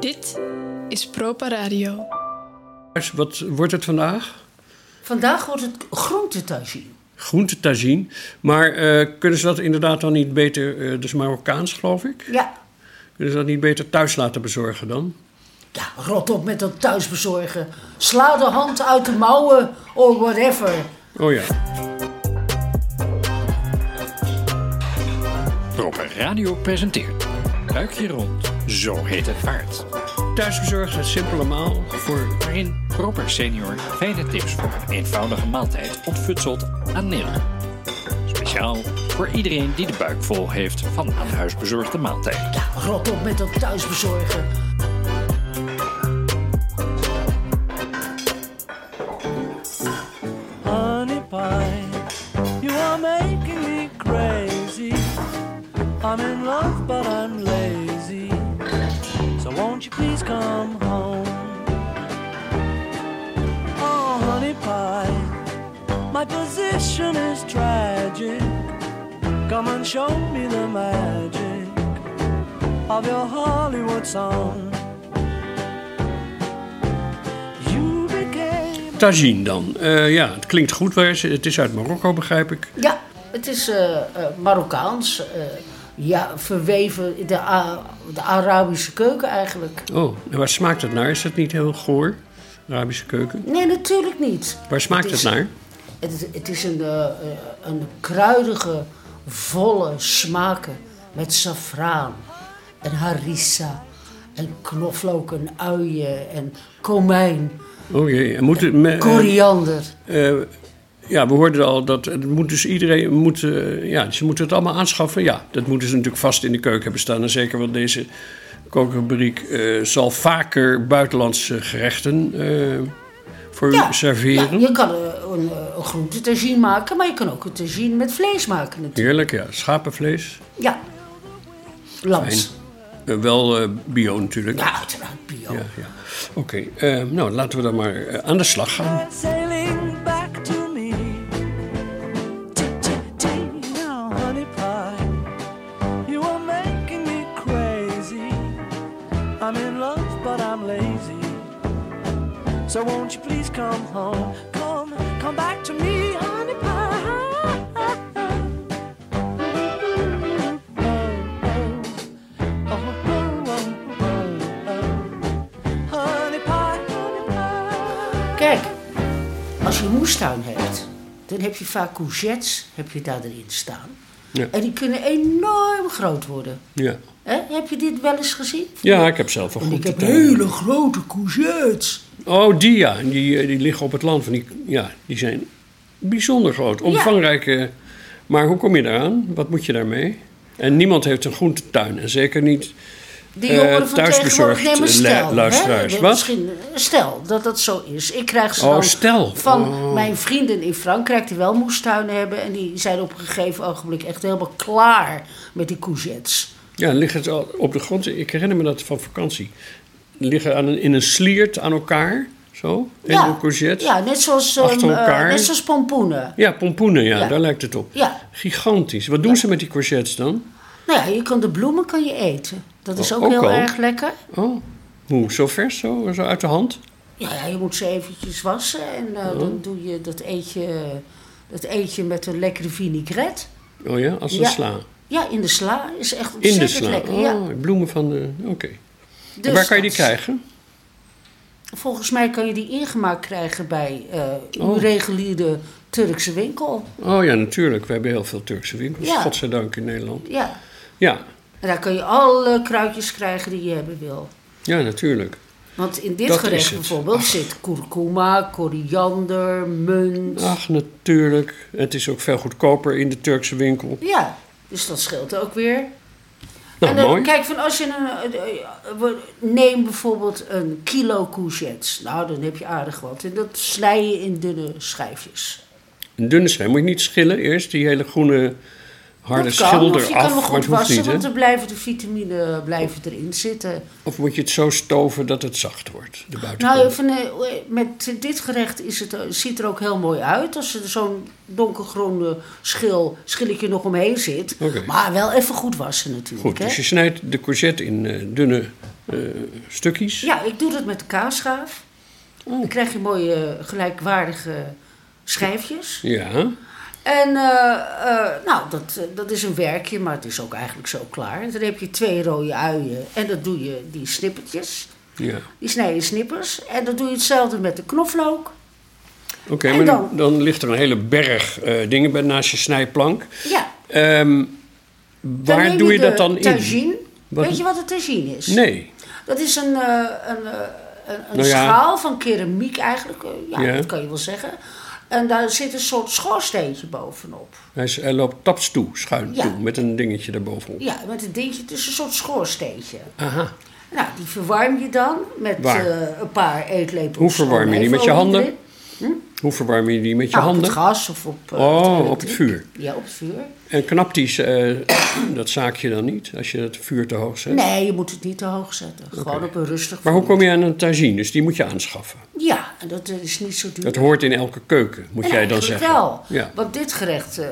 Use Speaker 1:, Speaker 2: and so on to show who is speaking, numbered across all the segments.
Speaker 1: Dit is Propa Radio.
Speaker 2: Wat wordt het vandaag?
Speaker 3: Vandaag wordt het groentetagine.
Speaker 2: Groentetagine. Maar eh, kunnen ze dat inderdaad dan niet beter, eh dus Marokkaans geloof ik?
Speaker 3: Ja.
Speaker 2: Kunnen ze dat niet beter thuis laten bezorgen dan?
Speaker 3: ja, rot op met dat thuisbezorgen. Sla de hand uit de mouwen or whatever.
Speaker 2: Oh ja.
Speaker 4: Proper Radio presenteert Buikje Rond, Zo Heet Het Vaart.
Speaker 2: Thuisbezorgd, een simpele maal.
Speaker 4: Voor waarin Proper Senior fijne tips voor een eenvoudige maaltijd ontfutselt aan Nederland. Speciaal voor iedereen die de buik vol heeft van aan huis bezorgde maaltijd.
Speaker 3: Ja, rot op met dat thuisbezorgen.
Speaker 5: Honey pie, you are making me crazy. I'm in love, but I'm lazy. So won't you please come home? Oh, honey pie, my position is tragic. Come and show me the magic of your Hollywood song. You became.
Speaker 2: Tagine dan. Eh, ja, het klinkt goed. waar ze- Het is uit Marokko, begrijp ik.
Speaker 3: Ja, het is eh, eh, Marokkaans. eh, ja, verweven in de, A- de Arabische keuken eigenlijk.
Speaker 2: Oh, en waar smaakt het naar? Is dat niet heel goor? Arabische keuken.
Speaker 3: Nee, natuurlijk niet.
Speaker 2: Waar smaakt het
Speaker 3: is-
Speaker 2: naar?
Speaker 3: Het, het is een, eh, eh, een kruidige, volle smaken met saffraan en harissa en knoflook en uien en komijn,
Speaker 2: Oh jee. En moet het, me- eh,
Speaker 3: koriander.
Speaker 2: Eh, ja, we hoorden al dat het moet dus iedereen moet, eh, ja, ze moeten het allemaal aanschaffen. Ja, dat moeten ze natuurlijk vast in de keuken hebben staan. En zeker want deze kookrubriek eh, zal vaker buitenlandse gerechten eh, voor u serveren.
Speaker 3: ja, je kan eh, een, eh, een groente tagine maken, maar je kan ook een tagine met vlees maken natuurlijk.
Speaker 2: Heerlijk, ja. Schapenvlees.
Speaker 3: Ja. Lams.
Speaker 2: Fijn. Eh, wel eh, bio natuurlijk.
Speaker 3: Ja, uiteraard bio.
Speaker 2: Ja, ja. Oké, eh, nou laten we dan maar eh, aan de slag gaan.
Speaker 5: sailing back to me. Tick, tick, tick, now, honey pie, you are making me crazy. I'm in love, but I'm lazy. So won't you please come home? Come, come back to me, honey pie. Oh, oh, oh, oh, oh, oh, oh. Honey pie, honey pie.
Speaker 3: Kijk, als je een moestuin hebt, dan heb je vaak courgettes heb je daar erin staan.
Speaker 2: Ja.
Speaker 3: En die kunnen enorm groot worden.
Speaker 2: Ja.
Speaker 3: Hè? Heb je dit wel eens gezien?
Speaker 2: ja, ik heb zelf een
Speaker 3: En
Speaker 2: goed
Speaker 3: ik heb
Speaker 2: tuin.
Speaker 3: hele grote courgettes.
Speaker 2: Oh, die ja. Die, eh, die liggen op het land. Van die, ja, die zijn bijzonder groot. Omvangrijk. eh, Maar hoe kom je daaraan? Wat moet je daarmee? En niemand heeft een groentetuin. En zeker niet...
Speaker 3: De
Speaker 2: Eh,
Speaker 3: jongeren van
Speaker 2: thuisbezorgd,
Speaker 3: tegenwoordig nemen
Speaker 2: eh,
Speaker 3: stel.
Speaker 2: lu- luisteraars.
Speaker 3: hè?
Speaker 2: Wat?
Speaker 3: Misschien, eh, stel dat dat zo is. Ik krijg ze
Speaker 2: Oh,
Speaker 3: dan
Speaker 2: stel.
Speaker 3: van
Speaker 2: Oh.
Speaker 3: mijn vrienden in Frankrijk die wel moestuinen hebben. En die zijn op een gegeven ogenblik echt helemaal klaar met die courgettes.
Speaker 2: Ja, liggen het al op de grond. Ik herinner me dat van vakantie. Liggen aan een, in een sliert aan elkaar. Zo. En
Speaker 3: ja.
Speaker 2: een courgette.
Speaker 3: Ja, net zoals, ehm,
Speaker 2: Achter
Speaker 3: eh,
Speaker 2: elkaar.
Speaker 3: net zoals pompoenen.
Speaker 2: Ja, pompoenen. Ja,
Speaker 3: Ja.
Speaker 2: daar lijkt het op.
Speaker 3: Ja.
Speaker 2: Gigantisch. Wat doen ze met die courgettes dan?
Speaker 3: Nou ja, je kan de bloemen kan je eten. Dat is
Speaker 2: Oh,
Speaker 3: ook,
Speaker 2: ook
Speaker 3: heel
Speaker 2: al?
Speaker 3: erg lekker.
Speaker 2: Oh, hoe? Zo vers? Zo, zo uit de hand?
Speaker 3: Ja, ja, je moet ze eventjes wassen. En eh, dan doe je dat eetje, dat eetje met een lekkere vinaigrette.
Speaker 2: Oh ja, als een
Speaker 3: Ja.
Speaker 2: sla.
Speaker 3: Ja, in de sla is echt
Speaker 2: In de
Speaker 3: ontzettend
Speaker 2: sla.
Speaker 3: lekker. Ja.
Speaker 2: Oh, bloemen van de... Oké. En
Speaker 3: Dus
Speaker 2: waar kan je die
Speaker 3: dat-
Speaker 2: krijgen?
Speaker 3: Volgens mij kan je die ingemaakt krijgen bij eh, uw
Speaker 2: Oh.
Speaker 3: reguliere Turkse winkel.
Speaker 2: Oh ja, natuurlijk. We hebben heel veel Turkse winkels.
Speaker 3: Ja.
Speaker 2: Godzijdank in Nederland.
Speaker 3: Ja.
Speaker 2: Ja,
Speaker 3: En daar kan je alle kruidjes krijgen die je hebben wil.
Speaker 2: ja natuurlijk.
Speaker 3: Want in dit
Speaker 2: Dat is
Speaker 3: gerecht
Speaker 2: het.
Speaker 3: bijvoorbeeld zit kurkuma, koriander, munt.
Speaker 2: Ach, natuurlijk. Het is ook veel goedkoper in de Turkse winkel.
Speaker 3: Ja, dus dat scheelt ook weer.
Speaker 2: Nou,
Speaker 3: en dan,
Speaker 2: mooi.
Speaker 3: kijk, van als je een, eh, eh, we- neem bijvoorbeeld een kilo courgettes. Nou, dan heb je aardig wat. En dat snij je in dunne schijfjes.
Speaker 2: Een dunne schijn. Moet je niet schillen eerst, die hele groene harde
Speaker 3: Dat kan,
Speaker 2: schilder
Speaker 3: of je
Speaker 2: af,
Speaker 3: kan hem
Speaker 2: maar
Speaker 3: goed
Speaker 2: het hoeft
Speaker 3: wassen,
Speaker 2: niet, hè?
Speaker 3: want dan blijven de vitamine blijven erin zitten.
Speaker 2: Of moet je het zo stoven dat het zacht wordt, de buitenkant?
Speaker 3: Nou, van, eh, met dit gerecht is het, eh, ziet er ook heel mooi uit. Als er zo'n donkergroene schil, schilletje nog omheen zit.
Speaker 2: Oké.
Speaker 3: Maar wel even goed wassen natuurlijk.
Speaker 2: Goed,
Speaker 3: hè?
Speaker 2: dus je snijdt de courgette in eh, dunne eh, stukjes.
Speaker 3: Ja, ik doe dat met de kaasschaaf. Dan krijg je mooie eh, gelijkwaardige schijfjes.
Speaker 2: Ja.
Speaker 3: En eh, eh, nou, dat, eh, dat is een werkje, maar het is ook eigenlijk zo klaar. En dan heb je twee rode uien en dan doe je die snippertjes.
Speaker 2: ja.
Speaker 3: Die snij je in snippers. En dan doe je hetzelfde met de knoflook.
Speaker 2: Oké,
Speaker 3: En
Speaker 2: maar dan,
Speaker 3: dan?
Speaker 2: dan ligt er een hele berg eh, dingen bij naast je snijplank.
Speaker 3: Ja,
Speaker 2: Ehm,
Speaker 3: dan
Speaker 2: waar
Speaker 3: neem
Speaker 2: doe je,
Speaker 3: de
Speaker 2: dat dan in?
Speaker 3: tagine.
Speaker 2: Wat-
Speaker 3: Weet je wat een tagine is?
Speaker 2: Nee.
Speaker 3: Dat is een, eh, een, eh, een, een
Speaker 2: Nou ja.
Speaker 3: schaal van keramiek eigenlijk. eh, Ja,
Speaker 2: Ja.
Speaker 3: dat kan je wel zeggen. En daar zit een soort schoorsteentje bovenop.
Speaker 2: Hij, is- hij loopt taps toe, schuin
Speaker 3: Ja.
Speaker 2: toe, met een dingetje daarbovenop.
Speaker 3: Ja, met een dingetje. Het is een soort schoorsteentje.
Speaker 2: Aha.
Speaker 3: Nou, die verwarm je dan met
Speaker 2: Waar?
Speaker 3: eh, een paar eetlepels.
Speaker 2: Hoe verwarm je die? Met je
Speaker 3: olijfolie
Speaker 2: handen?
Speaker 3: erin.
Speaker 2: Hoe verwarm je die met je
Speaker 3: Nou,
Speaker 2: handen?
Speaker 3: Op het gas of op... eh,
Speaker 2: Oh,
Speaker 3: elektriek.
Speaker 2: op het vuur.
Speaker 3: Ja, op het vuur.
Speaker 2: En knapt die, eh, dat zaakje dan niet, als je het vuur te hoog zet?
Speaker 3: Nee, je moet het niet te hoog zetten. Gewoon op een rustig
Speaker 2: Maar hoe
Speaker 3: vuur.
Speaker 2: kom je aan een tagine? Dus die moet je aanschaffen.
Speaker 3: Ja, en dat eh, is niet zo duur.
Speaker 2: Dat hoort in elke keuken, moet
Speaker 3: Ja,
Speaker 2: jij dan
Speaker 3: eigenlijk
Speaker 2: zeggen.
Speaker 3: wel.
Speaker 2: Ja.
Speaker 3: Want dit gerecht eh,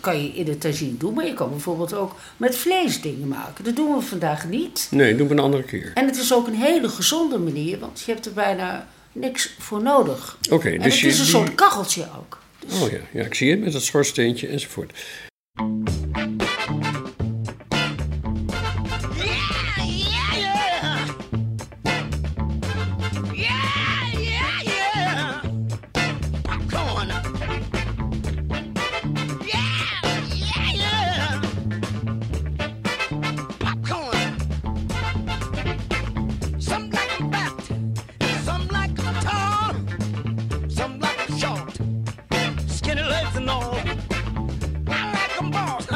Speaker 3: kan je in de tagine doen, maar je kan bijvoorbeeld ook met vlees dingen maken. Dat doen we vandaag niet.
Speaker 2: Nee, doe het een andere keer.
Speaker 3: En het is ook een hele gezonde manier, want je hebt er bijna niks voor nodig.
Speaker 2: Oké,
Speaker 3: en
Speaker 2: dus
Speaker 3: het
Speaker 2: je
Speaker 3: is een
Speaker 2: die-
Speaker 3: soort kacheltje ook.
Speaker 2: Oh ja, ja, ik zie het met dat schorsteentje enzovoort.
Speaker 6: Some like 'em fat, some like 'em tall, some like 'em short, skinny legs and all. I like 'em bald,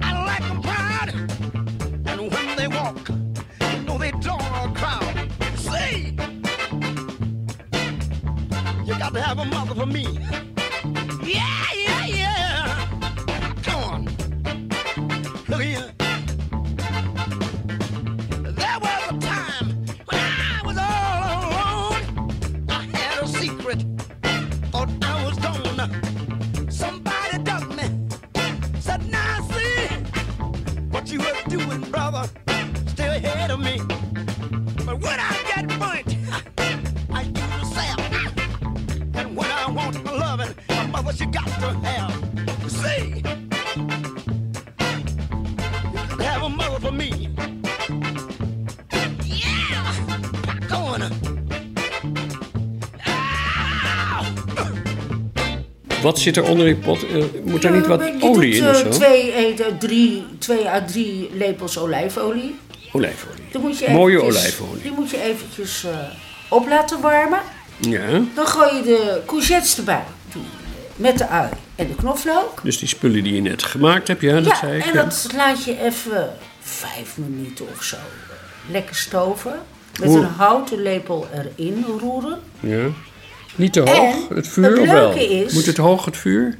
Speaker 6: I like 'em proud, and when they walk, you know they draw a crowd. See, you got to have a mother for me. Yeah, yeah, yeah. Come on, look here. There was a time when I was all alone. I had a secret, thought I was gone. Somebody dug me, said, Now see what you were doing, brother, still ahead of me. But when I get burnt, I use myself. And when I want my loving, my mother, she got to have. See, have a mother for me. Yeah! Going.
Speaker 2: Wat zit er onder die pot? Eh, moet daar niet wat
Speaker 3: Eh, je
Speaker 2: olie
Speaker 3: doet,
Speaker 2: in of
Speaker 3: eh,
Speaker 2: zo?
Speaker 3: twee, eh, drie, twee à drie lepels olijfolie.
Speaker 2: Olijfolie.
Speaker 3: Dan moet je dus-
Speaker 2: Mooie
Speaker 3: eventjes-
Speaker 2: olijfolie.
Speaker 3: Die moet je eventjes eh, op laten warmen.
Speaker 2: Ja,
Speaker 3: Dan gooi je de courgettes erbij. Met de ui en de knoflook.
Speaker 2: dus die spullen die je net gemaakt hebt, ja, dat
Speaker 3: Ja,
Speaker 2: zei ik.
Speaker 3: en
Speaker 2: ja.
Speaker 3: dat laat je even vijf minuten of zo eh, lekker stoven. Met
Speaker 2: Hoe-
Speaker 3: een houten lepel erin roeren.
Speaker 2: Ja. Niet te hoog,
Speaker 3: En
Speaker 2: het vuur
Speaker 3: het
Speaker 2: of wel?
Speaker 3: leuke is-
Speaker 2: Moet het hoog, het vuur?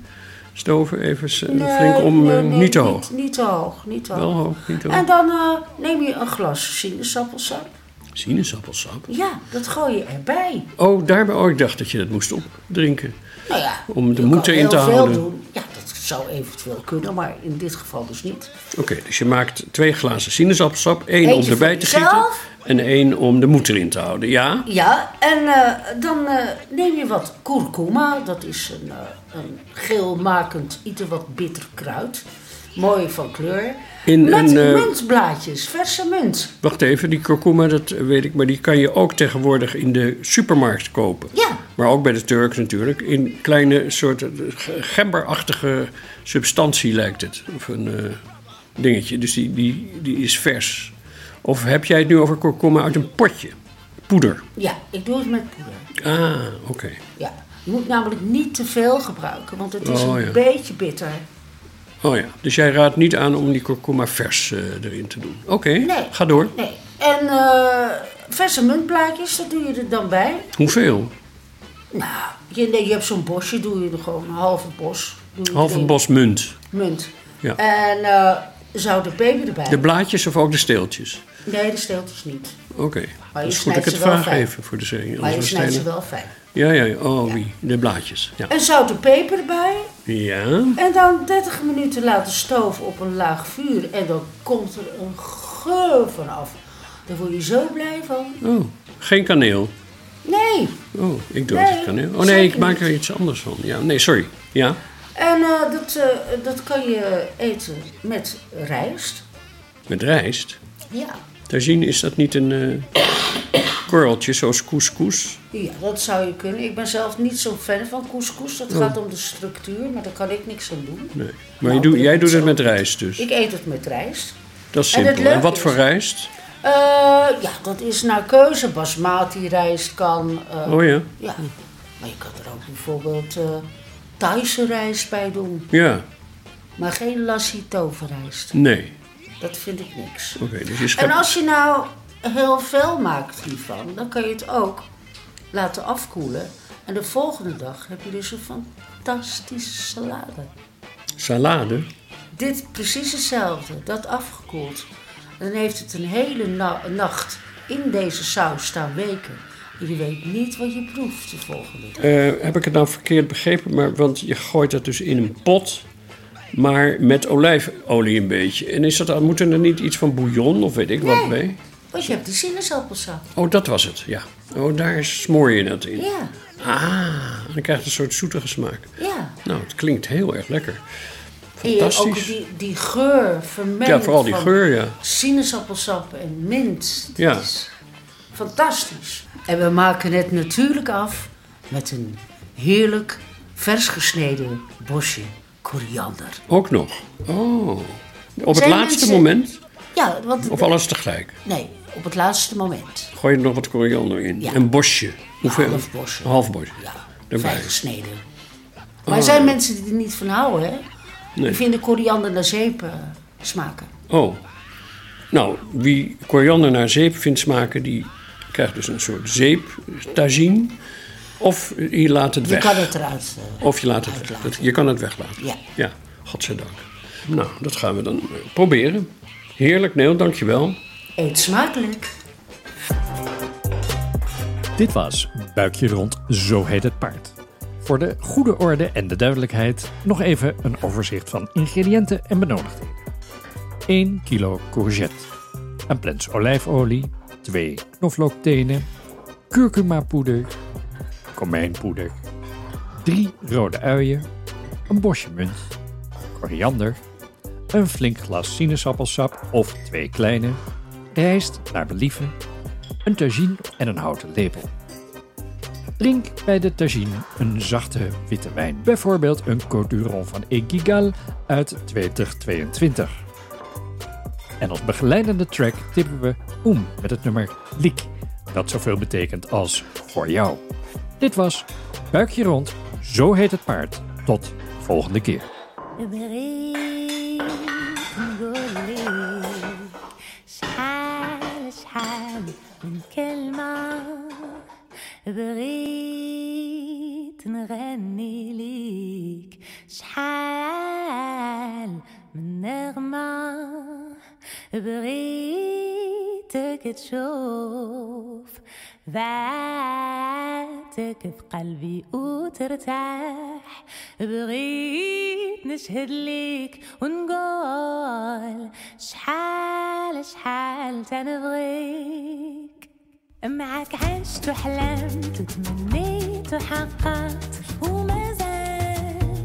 Speaker 2: Stoven even s-
Speaker 3: Nee,
Speaker 2: flink om,
Speaker 3: nee,
Speaker 2: eh,
Speaker 3: nee,
Speaker 2: niet te hoog.
Speaker 3: Niet, te hoog, niet te hoog.
Speaker 2: Wel hoog, niet te hoog.
Speaker 3: En dan eh, neem je een glas sinaasappelsap.
Speaker 2: Sinaasappelsap.
Speaker 3: Ja, dat gooi je erbij.
Speaker 2: Oh, daarbij, oh, ik dacht dat je dat moest opdrinken.
Speaker 3: Nou ja,
Speaker 2: Om de
Speaker 3: je
Speaker 2: moed
Speaker 3: kan
Speaker 2: erin te
Speaker 3: heel veel
Speaker 2: houden.
Speaker 3: doen. Ja, dat zou eventueel kunnen, maar in dit geval dus niet.
Speaker 2: Oké, dus je maakt twee glazen sinaasappelsap. één
Speaker 3: Eentje
Speaker 2: om erbij
Speaker 3: voor
Speaker 2: te gieten
Speaker 3: jezelf.
Speaker 2: en één om de moed erin te houden. Ja?
Speaker 3: Ja, en eh, dan eh, neem je wat kurkuma. Dat is een, eh, een geelmakend, ietwat wat bitter kruid. Mooi van kleur.
Speaker 2: In
Speaker 3: Met
Speaker 2: een, eh,
Speaker 3: muntblaadjes, verse munt.
Speaker 2: Wacht even, die kurkuma, dat weet ik, maar die kan je ook tegenwoordig in de supermarkt kopen.
Speaker 3: Ja.
Speaker 2: Maar ook bij de Turk natuurlijk. In kleine soorten ge- gemberachtige substantie lijkt het. Of een eh, dingetje. Dus die, die, die is vers. Of heb jij het nu over kurkuma uit een potje? Poeder.
Speaker 3: Ja, ik doe het met poeder.
Speaker 2: Ah, oké.
Speaker 3: Ja. Je moet namelijk niet te veel gebruiken, want het is
Speaker 2: Oh,
Speaker 3: een
Speaker 2: ja.
Speaker 3: beetje bitter.
Speaker 2: Oh ja, dus jij raadt niet aan om die kurkuma vers eh, erin te doen. Oké,
Speaker 3: Nee.
Speaker 2: ga door.
Speaker 3: Nee. En eh, verse muntblaadjes, dat doe je er dan bij.
Speaker 2: Hoeveel?
Speaker 3: Nou, je, nee, je hebt zo'n bosje, doe je er gewoon een halve bos. doe je
Speaker 2: Half een
Speaker 3: erin.
Speaker 2: bos munt.
Speaker 3: munt.
Speaker 2: Ja.
Speaker 3: En eh, zou de peper erbij.
Speaker 2: De blaadjes of ook de steeltjes?
Speaker 3: nee, de steeltjes niet.
Speaker 2: Oké, dat
Speaker 3: Maar je
Speaker 2: is goed dat
Speaker 3: snijdt
Speaker 2: ik het
Speaker 3: ze wel
Speaker 2: vraag
Speaker 3: fijn.
Speaker 2: even voor de serie.
Speaker 3: Maar
Speaker 2: anders
Speaker 3: je
Speaker 2: was het
Speaker 3: snijdt ze
Speaker 2: hele-
Speaker 3: wel fijn.
Speaker 2: Ja, ja, ja. Oh, wie? De blaadjes. Ja.
Speaker 3: En zoute peper erbij.
Speaker 2: ja.
Speaker 3: En dan 30 minuten laten stoven op een laag vuur. En dan komt er een geur van af. Daar word je zo blij van.
Speaker 2: Oh, geen kaneel.
Speaker 3: Nee.
Speaker 2: Oh, ik doe
Speaker 3: Nee,
Speaker 2: altijd kaneel. Oh nee,
Speaker 3: zeker
Speaker 2: ik maak er
Speaker 3: niet.
Speaker 2: iets anders van. Ja, nee, sorry. Ja.
Speaker 3: En eh, dat, eh, dat kan je eten met rijst.
Speaker 2: Met rijst.
Speaker 3: Ja.
Speaker 2: Tagine, is dat niet een eh, korreltje zoals couscous?
Speaker 3: Ja, dat zou je kunnen. Ik ben zelf niet zo'n fan van couscous. Dat gaat om de structuur, maar daar kan ik niks aan doen.
Speaker 2: Oh. Nee. Maar
Speaker 3: Nou,
Speaker 2: je doet-
Speaker 3: ik
Speaker 2: jij
Speaker 3: doe
Speaker 2: doet
Speaker 3: het
Speaker 2: het
Speaker 3: zo.
Speaker 2: met rijst dus.
Speaker 3: Ik eet het met rijst.
Speaker 2: dat is
Speaker 3: en het
Speaker 2: simpel. En,
Speaker 3: leuke
Speaker 2: wat voor
Speaker 3: is-
Speaker 2: rijst?
Speaker 3: Eh, ja, dat is naar keuze. Basmati rijst kan. eh,
Speaker 2: Oh ja.
Speaker 3: ja. Maar je kan er ook bijvoorbeeld eh Thaise rijst bij doen.
Speaker 2: Ja.
Speaker 3: Maar geen lassi toverrijst.
Speaker 2: Nee.
Speaker 3: Dat vind ik niks.
Speaker 2: Oké, dus je
Speaker 3: En
Speaker 2: schept...
Speaker 3: als je nou heel veel maakt hiervan, dan kan je het ook laten afkoelen. En de volgende dag heb je dus een fantastische salade.
Speaker 2: Salade?
Speaker 3: Dit is precies hetzelfde, dat afgekoeld. En dan heeft het een hele na- nacht in deze saus staan weken. En je weet niet wat je proeft de volgende dag.
Speaker 2: Eh, heb ik het nou verkeerd begrepen? Maar, want je gooit dat dus in een pot, maar met olijfolie een beetje. En is dat, dan- moet er niet iets van bouillon of weet ik wat bij?
Speaker 3: Want je hebt die sinaasappelsap.
Speaker 2: Oh, dat was het, ja. Oh, daar smoor je dat in.
Speaker 3: Ja,
Speaker 2: Ah, dan krijgt het een soort zoetige smaak.
Speaker 3: ja.
Speaker 2: Nou, het klinkt heel erg lekker.
Speaker 3: En je, ook
Speaker 2: Fantastisch.
Speaker 3: die, die geur vermengd
Speaker 2: Ja, vooral die
Speaker 3: van-
Speaker 2: geur, ja.
Speaker 3: sinaasappelsap en mint. Dat
Speaker 2: Ja.
Speaker 3: is fantastisch. En we maken het natuurlijk af met een heerlijk vers gesneden bosje koriander.
Speaker 2: Ook nog. Oh. Op het
Speaker 3: Zijn
Speaker 2: laatste
Speaker 3: mensen-
Speaker 2: moment?
Speaker 3: Ja, want
Speaker 2: Of alles tegelijk?
Speaker 3: nee, op het laatste moment.
Speaker 2: Gooi je er nog wat koriander in?
Speaker 3: Ja.
Speaker 2: Een bosje? Hoeveel?
Speaker 3: half bosje.
Speaker 2: Een half bosje.
Speaker 3: Ja,
Speaker 2: Erbij.
Speaker 3: fijn gesneden.
Speaker 2: Oh.
Speaker 3: Maar er zijn mensen die er niet van houden, hè? Die vinden koriander naar zeep eh, smaken.
Speaker 2: Oh. Nou, wie koriander naar zeep vindt smaken, die krijgt dus een soort zeeptagine. Of je laat het
Speaker 3: Je
Speaker 2: weg.
Speaker 3: kan het eruit. eh,
Speaker 2: Of je laat het weg.
Speaker 3: uitlaten.
Speaker 2: Dat- je kan het weglaten.
Speaker 3: Ja.
Speaker 2: Ja, godzijdank. Nou, dat gaan we dan eh, proberen. Heerlijk, Neel, dankjewel.
Speaker 3: Eet smakelijk.
Speaker 4: Dit was Buikje Rond, Zo Heet Het Paard. Voor de goede orde en de duidelijkheid nog even een overzicht van ingrediënten en benodigdheden. 1 kilo courgette, een plens olijfolie, 2 knoflooktenen, curcuma poeder, komijnpoeder, 3 rode uien, een bosje munt, koriander, een flink glas sinaasappelsap of twee kleine, rijst naar believen, een tagine en een houten lepel. Drink bij de tagine een zachte witte wijn, bijvoorbeeld een Côturon van Egigal uit 2022. En als begeleidende track tippen we Oem met het nummer Liek, dat zoveel betekent als voor jou. Dit was Buikje Rond, Zo Heet Het Paard. Tot volgende keer.
Speaker 7: شحال شحال من كلمة بغيت نغني ليك شحال من نغمة بغيتك تشوف ذاتك في قلبي وترتاح بغيت نشهد ليك ونقول شحال شحال تنبغيك معك عشت وحلمت وتمنيت وحققت وما زال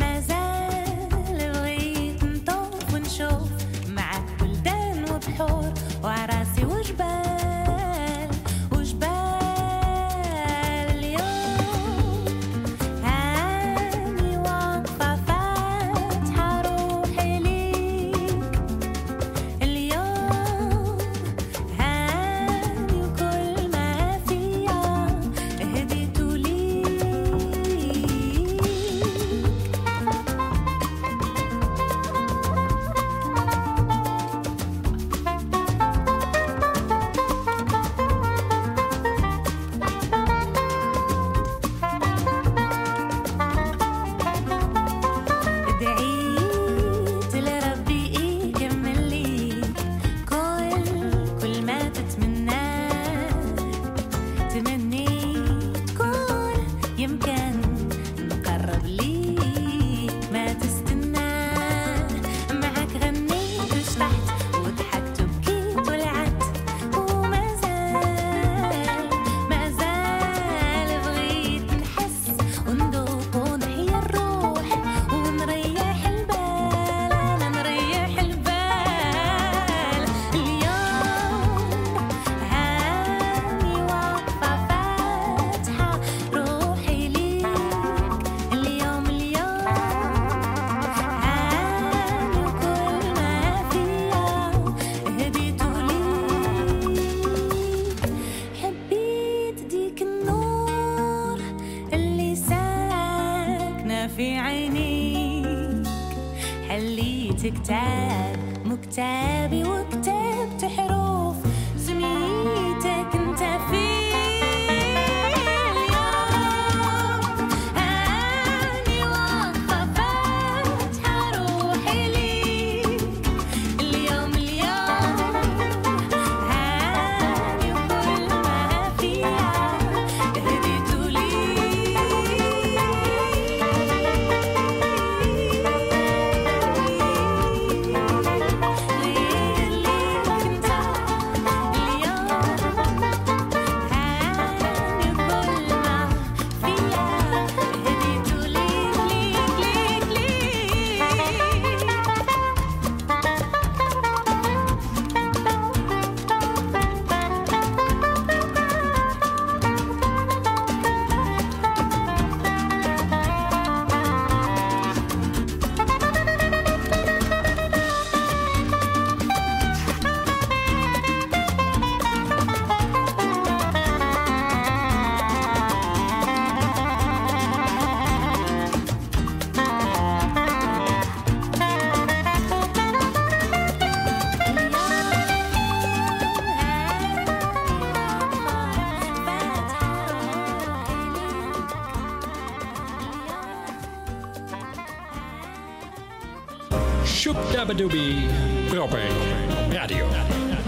Speaker 7: ما زال بغيت نطوف ونشوف معك بلدان وبحور وعراسي وجبال وجبال اليوم هاني واقفة فاتحة روحي ليك اليوم هاني وكل ما فيها هديت ليك تعبي وكتبت حروف سميتك انت فيه اليوم اني واقفه فاتحه روحي ليك اليوم اليوم هاني وكل ما فيها اهديته
Speaker 4: Shoop Dabadoobie. Proper Radio.